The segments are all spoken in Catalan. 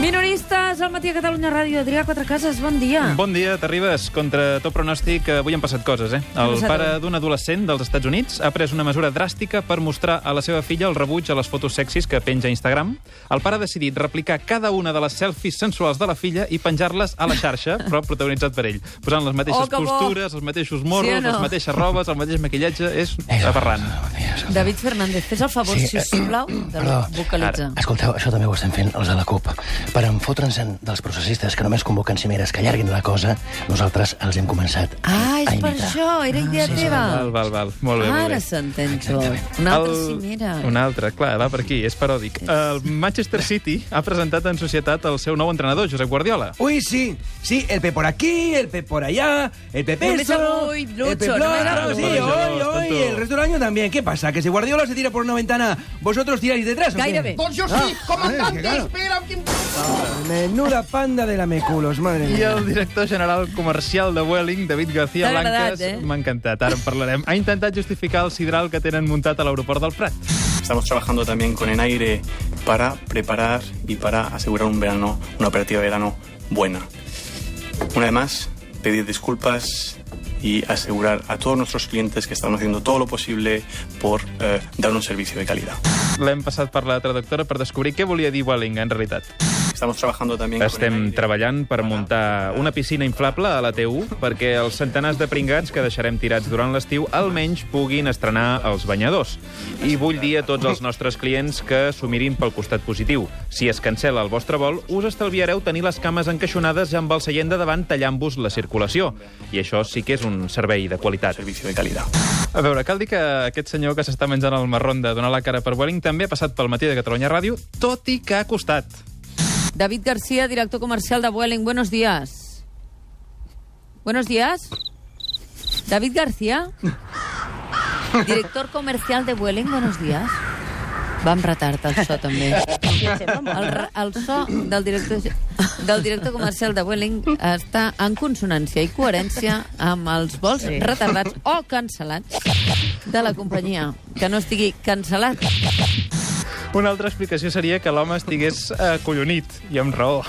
Minoristes, al matí a Catalunya Ràdio, Adrià Quatre Cases, bon dia. Bon dia, t'arribes. Contra tot pronòstic, avui han passat coses, eh? El passat, pare eh? d'un adolescent dels Estats Units ha pres una mesura dràstica per mostrar a la seva filla el rebuig a les fotos sexis que penja a Instagram. El pare ha decidit replicar cada una de les selfies sensuals de la filla i penjar-les a la xarxa, però protagonitzat per ell, posant les mateixes Oh, que bo. costures, els mateixos morros, Sí o no? les mateixes robes, el mateix maquillatge... És aberrant. David Fernández, fes el favor, Sí, sí. eh, sisplau, de perdó. vocalitzar. Escolteu, això també ho estem fent els de la CUP. Per enfotre'ns-en dels processistes que només convoquen cimeres que allarguin la cosa, nosaltres els hem començat Ah, és a per imitar. això, era idea teva. Val, val, val. Molt bé, molt bé. Ara s'entén tot. Una altra El- cimera. Una altra, clar, va per aquí, és paròdic. El Manchester City ha presentat en societat el seu nou entrenador, Josep Guardiola. Uy, sí, sí, el P por aquí, el P por allá, el P No me peso, sabe, uy, el P Lucho, no me sabe. plotro, sí, Por eso, hoy, no, hoy, tanto. el resto del año también. ¿Qué pasa? ¿Que si Guardiola se tira por una ventana, vosotros tiráis detrás o qué? Gaire bé. Doncs jo sí, comandante, espera... Que... Menuda panda de lameculos, madre I mía. el director general comercial de Welling, David García T'ha agradat, Blancas, eh? m'ha encantat, ara en parlarem, ha intentat justificar el sidral que tenen muntat a l'aeroport del Prat. Estamos trabajando también con Enaire para preparar y para asegurar un verano, una operativa de verano buena. Una vez más, pedir disculpas y asegurar a todos nuestros clientes que estamos haciendo todo lo posible por eh, dar un servicio de calidad. L'hem passat per la traductora per descobrir què volia dir Welling, en realitat. Estamos trabajando también con Estem Enaire. treballant per muntar una piscina inflable a la T1 perquè els centenars de pringats que deixarem tirats durant l'estiu almenys puguin estrenar els banyadors. I vull dir a tots els nostres clients que s'ho mirin pel costat positiu. Si es cancela el vostre vol, us estalviareu tenir les cames encaixonades amb el seient de davant tallant-vos la circulació. I això sí que és un servei de qualitat. servicio de calidad. A veure, cal dir que aquest senyor que s'està menjant el marron de donar la cara per Welling també ha passat pel matí de Catalunya Ràdio, tot i que ha costat. David García, director comercial de Vueling, buenos días. Buenos días. David García, director comercial de Vueling, buenos días. Vam retard el so, també. El, re- el so del director, del director comercial de Vueling està en consonància i coherència amb els vols sí. retardats o cancel·lats de la companyia. Que no estigui cancel·lat. Una altra explicació seria que l'home estigués acollonit, i amb raó.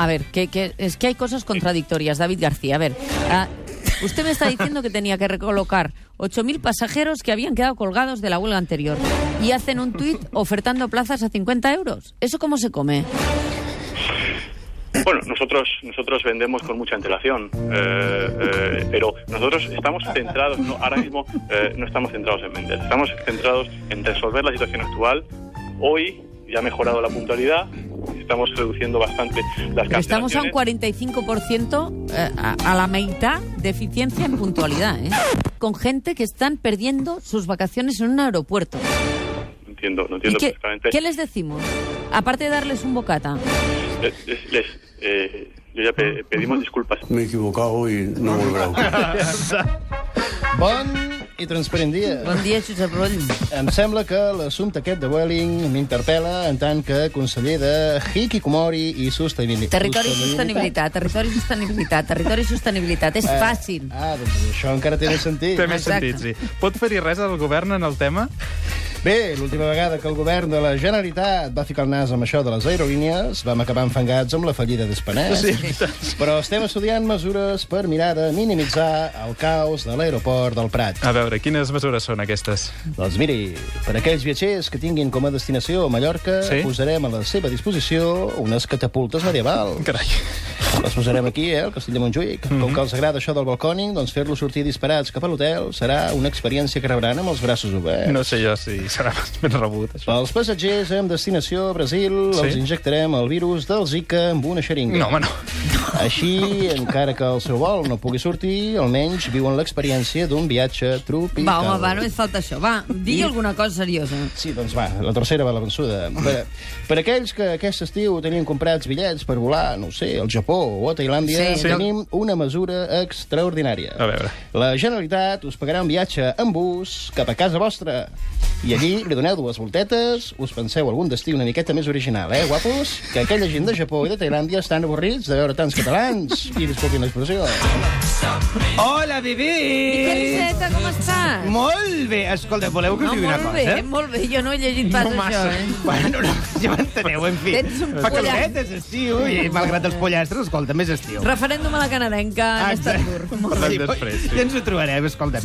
A ver, que, que- es que hay cosas contradictorias, David García. A ver, ah, usted me está diciendo que tenía que recolocar 8.000 pasajeros que habían quedado colgados de la huelga anterior y hacen un tuit ofertando plazas a 50 euros. ¿Eso cómo se come? Bueno, nosotros, nosotros vendemos con mucha antelación, eh, eh, pero nosotros estamos centrados, no, ahora mismo eh, no estamos centrados en vender, estamos centrados en resolver la situación actual. Hoy ya ha mejorado la puntualidad, estamos reduciendo bastante las cancelaciones. Estamos a un 45% eh, a, a la mitad de eficiencia en puntualidad, ¿eh? Con gente que están perdiendo sus vacaciones en un aeropuerto. No entiendo, ¿Y no entiendo qué, perfectamente. qué les decimos? Aparte de darles un bocata. Les- les- les, eh, yo ya pe- pedimos disculpas. Me he equivocado y no volverá a ocurrir. Bon i transparent dia. Bon dia, Josep Rull. Em sembla que l'assumpte aquest de Welling m'interpel·la en tant que conseller de Hikikomori i Sostenibilitat. Territori i sostenibilitat, territori i sostenibilitat, territori i sostenibilitat. És Eh, fàcil. Ah, doncs això encara té més sentit. Té més Exacte. sentit, sí. Pot fer-hi res al govern en el tema? Bé, l'última vegada que el govern de la Generalitat va ficar el nas amb això de les aerolínies, vam acabar enfangats amb la fallida d'Espanès. Sí. Però estem estudiant mesures per mirar de minimitzar el caos de l'aeroport del Prat. A veure, quines mesures són aquestes? Doncs miri, per aquells viatgers que tinguin com a destinació Mallorca, Sí. sí? posarem a la seva disposició unes catapultes medievals. Carai. Mhm. Les posarem aquí, eh, al Castell de Montjuïc. Mm -hmm. Com que els agrada això del balcòning, doncs fer-los sortir disparats cap a l'hotel serà una experiència que rebran amb els braços oberts. No sé jo si serà ben rebut, això. Pels passatgers amb destinació a Brasil Sí? sí? els injectarem el virus del Zika amb una xeringa. No, home, no. Així, encara que el seu vol no pugui sortir, almenys viuen l'experiència d'un viatge tropical. Va, home, va, només falta això. Va, digui alguna cosa seriosa. Sí, doncs va, la tercera va la vençuda. Per, per aquells que aquest estiu tenien comprats bitllets per volar, no ho sé, al Japó o a Tailàndia, Sí, sí. tenim una mesura extraordinària. A veure. La Generalitat us pagarà un viatge en bus cap a casa vostra. I allí li doneu dues voltetes, us penseu algun destí una miqueta més original, eh, guapos? Que aquella gent de Japó i de Tailàndia estan avorrits de veure tants catalans. I disculpin l'expressió. Hola, bebè! Cariceta, com estàs? Molt bé! Escolta, voleu que us No, digui una molt cosa? bé, molt bé. Jo no he llegit pas això, eh? Bueno, no, ja m'enteneu, en fi. Tens un Fa pollastre. caloreta, és estiu, i malgrat els pollastres, escolta, més estiu. Referèndum a la canadenca en Estrasburg. Molt Parlem Ah, Sí, després, sí. Ja ens ho trobarem, escolta'm.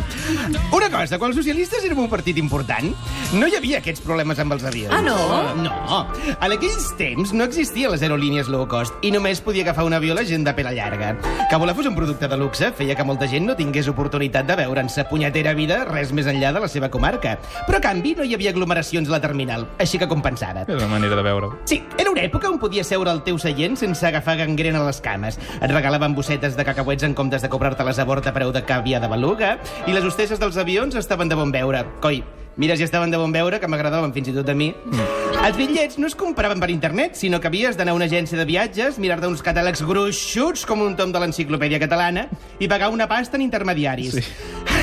Una cosa, quan els socialistes érem un partit important, no hi havia aquests problemes amb els avions. Ah, no? No. En aquells temps no existia les aerolínies low cost i només podia agafar un avió la gent de pela llarga. Que volar fos un producte de luxe feia que molta gent no tingués oportunitat de veure en sa punyetera vida res més enllà de la seva comarca. Però, a canvi, no hi havia aglomeracions a la terminal, així que compensava. És una manera de veure-ho. Sí, era una època on podies seure al teu seient sense agafar gangrena a les cames. Et regalaven bossetes de cacauets en comptes de comprar-te-les a bord a preu de càvia de beluga i les hostesses dels avions estaven de bon veure. Coi, mira, si estaven de bon veure, que m'agradaven fins i tot a mi. Els bitllets no es compraven per internet, sinó que havies d'anar a una agència de viatges, mirar-te uns catàlegs gruixuts com un tom de l'enciclopèdia catalana i pagar una pasta en intermediaris. Sí.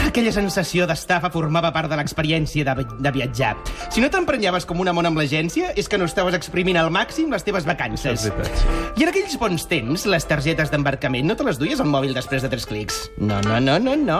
Aquella sensació d'estafa formava part de l'experiència de, vi- de viatjar. Si no t'emprenyaves com una mona amb l'agència, és que no estaves exprimint al màxim les teves vacances. Això és veritat, sí. I en aquells bons temps, les targetes d'embarcament no te les duies al mòbil després de tres clics. No, no, no, no, no.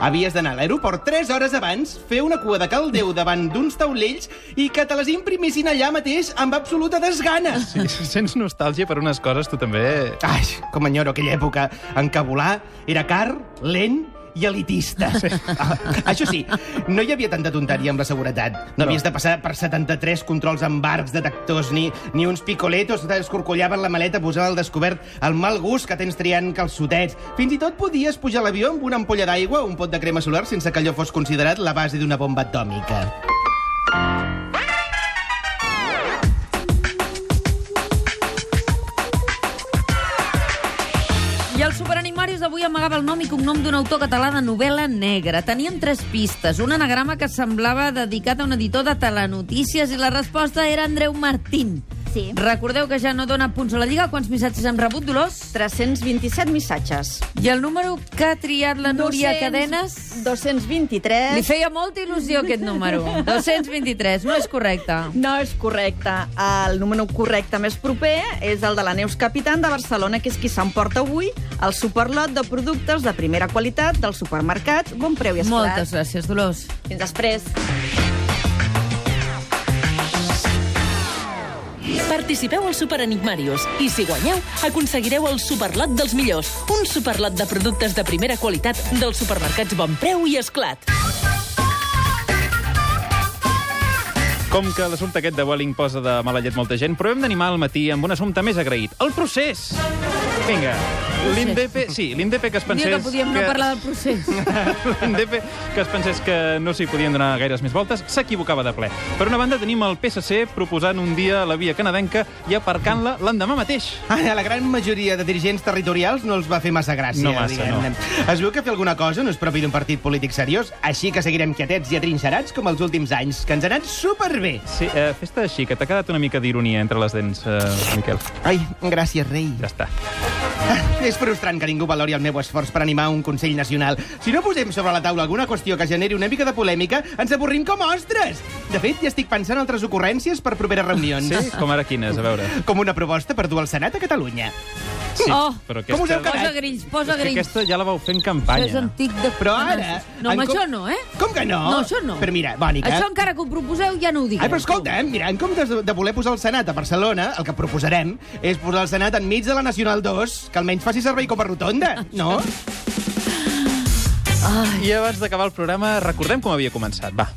Havies d'anar a l'aeroport tres hores abans, fer una cua de caldeu davant d'uns taulells i que te les imprimissin allà mateix amb absoluta desgana. Sí. Si sents nostàlgia per unes coses, tu també... Ai, com enyoro aquella època en què volar era car, lent i elitista. Sí. Ah, això sí, no hi havia tanta tonteria amb la seguretat. No, no havies de passar per 73 controls amb arcs detectors ni, ni uns picoletos que t'escorcollaven la maleta posant al descobert el mal gust que tens triant calçotets. Fins i tot podies pujar a l'avió amb una ampolla d'aigua o un pot de crema solar sense que allò fos considerat la base d'una bomba atòmica. I el Superanimaris d'avui amagava el nom i cognom d'un autor català de novel·la negra. Teníem tres pistes. Un anagrama que semblava dedicat a un editor de telenotícies i la resposta era Andreu Martín. Sí. Recordeu que ja no dona punts a la Lliga. Quants missatges hem rebut, Dolors? 327 missatges. I el número que ha triat la Núria Cadenes? 223. Li feia molta il·lusió aquest número. 223, no és correcte. No és correcte. El número correcte més proper és el de la Neus Capitan de Barcelona, que és qui s'emporta avui el superlot de productes de primera qualitat dels supermercats, bon preu i esclat. Moltes gràcies, Dolors. Fins després. Participeu al Super Enigmarius i, si guanyeu, aconseguireu el superlot dels millors, un superlot de productes de primera qualitat dels supermercats Bon Preu i Esclat. Com que l'assumpte aquest de Welling posa de mala llet molta gent, provem d'animar al matí amb un assumpte més agraït. El procés! Vinga, l'INDEP... Sí, l'INDEP que es Un pensés... dia que podíem no parlar del procés. L'INDEP que es pensés que no s'hi podien donar gaires més voltes, s'equivocava de ple. Per una banda, tenim el PSC proposant un dia la via canadenca i aparcant-la l'endemà mateix. Ara, Ah, la gran majoria de dirigents territorials no els va fer massa gràcia. No massa, diguem-ne. Es veu que fer alguna cosa no és propi d'un partit polític seriós, així que seguirem quietets i atrinxerats com els últims anys, que ens ha anat superbé. Sí, eh, fes-te així, que t'ha quedat una mica d'ironia entre les dents, eh, Miquel. Ai, gràcies, rei. Ja està. És frustrant que ningú valori el meu esforç per animar un Consell Nacional. Si no posem sobre la taula alguna qüestió que generi una mica de polèmica, ens avorrim com ostres! De fet, ja estic pensant altres ocurrències per properes reunions. Sí? Com ara quines, a veure. Com una proposta per dur al Senat a Catalunya. Sí, Oh, però com us heu quedat? Posa grills, posa És que grills. aquesta ja la vau fer en Això campanya. és antic de... Però ara... No, home, en com- això no, eh? Com que no? No, això no. Però mira, Bònica... Això encara que ho proposeu ja no ho digueu. Ai, però escolta, eh, mira, en comptes de, de voler posar el Senat a Barcelona, el que proposarem és posar el Senat enmig de la Nacional 2, que almenys faci servei com a rotonda, no? I abans d'acabar el programa, recordem com havia començat. Va,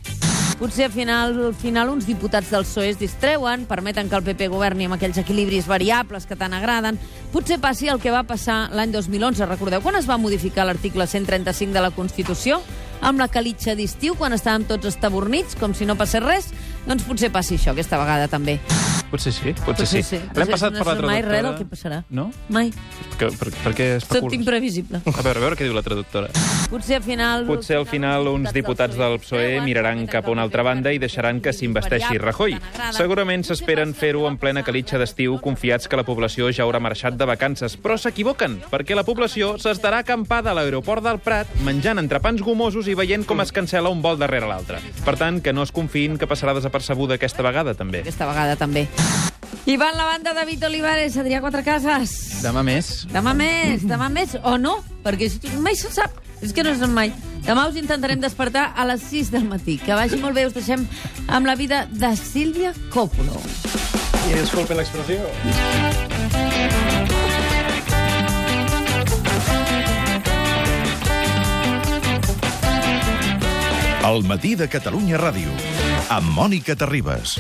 Potser al final, al final uns diputats del PSOE es distreuen, permeten que el PP governi amb aquells equilibris variables que tant agraden. Potser passi el que va passar l'any 2011. Recordeu quan es va modificar l'article 135 de la Constitució? Amb la calitxa d'estiu, quan estàvem tots estabornits, com si no passés res? Doncs potser passi això aquesta vegada també. potser sí, potser, Potser sí. sí. L'hem Potser passat no per la és traductora. mai res del que passarà. No? Mai. Que, per, per què Tot especules? imprevisible. A veure, a veure què diu la traductora. Potser al final... Potser al final uns diputats del PSOE miraran cap a una altra banda i deixaran que s'investeixi Rajoy. Segurament s'esperen fer-ho en plena calitxa d'estiu, confiats que la població ja haurà marxat de vacances. Però s'equivoquen, perquè la població s'estarà acampada a l'aeroport del Prat, menjant entrepans gomosos i veient com es cancela un vol darrere l'altre. Per tant, que no es confiïn que passarà desapercebuda aquesta vegada, també. Aquesta vegada també. I va en la banda David Olivares, Adrià Quatre Cases. Demà més. Demà més, demà més, o no, perquè si tu- mai se sap, és que no se sap mai. Demà us intentarem despertar a les 6 del matí. Que vagi molt bé, us deixem amb la vida de Sílvia Coppolo. I disculpe l'expressió. El matí de Catalunya Ràdio, amb Mònica Terribas.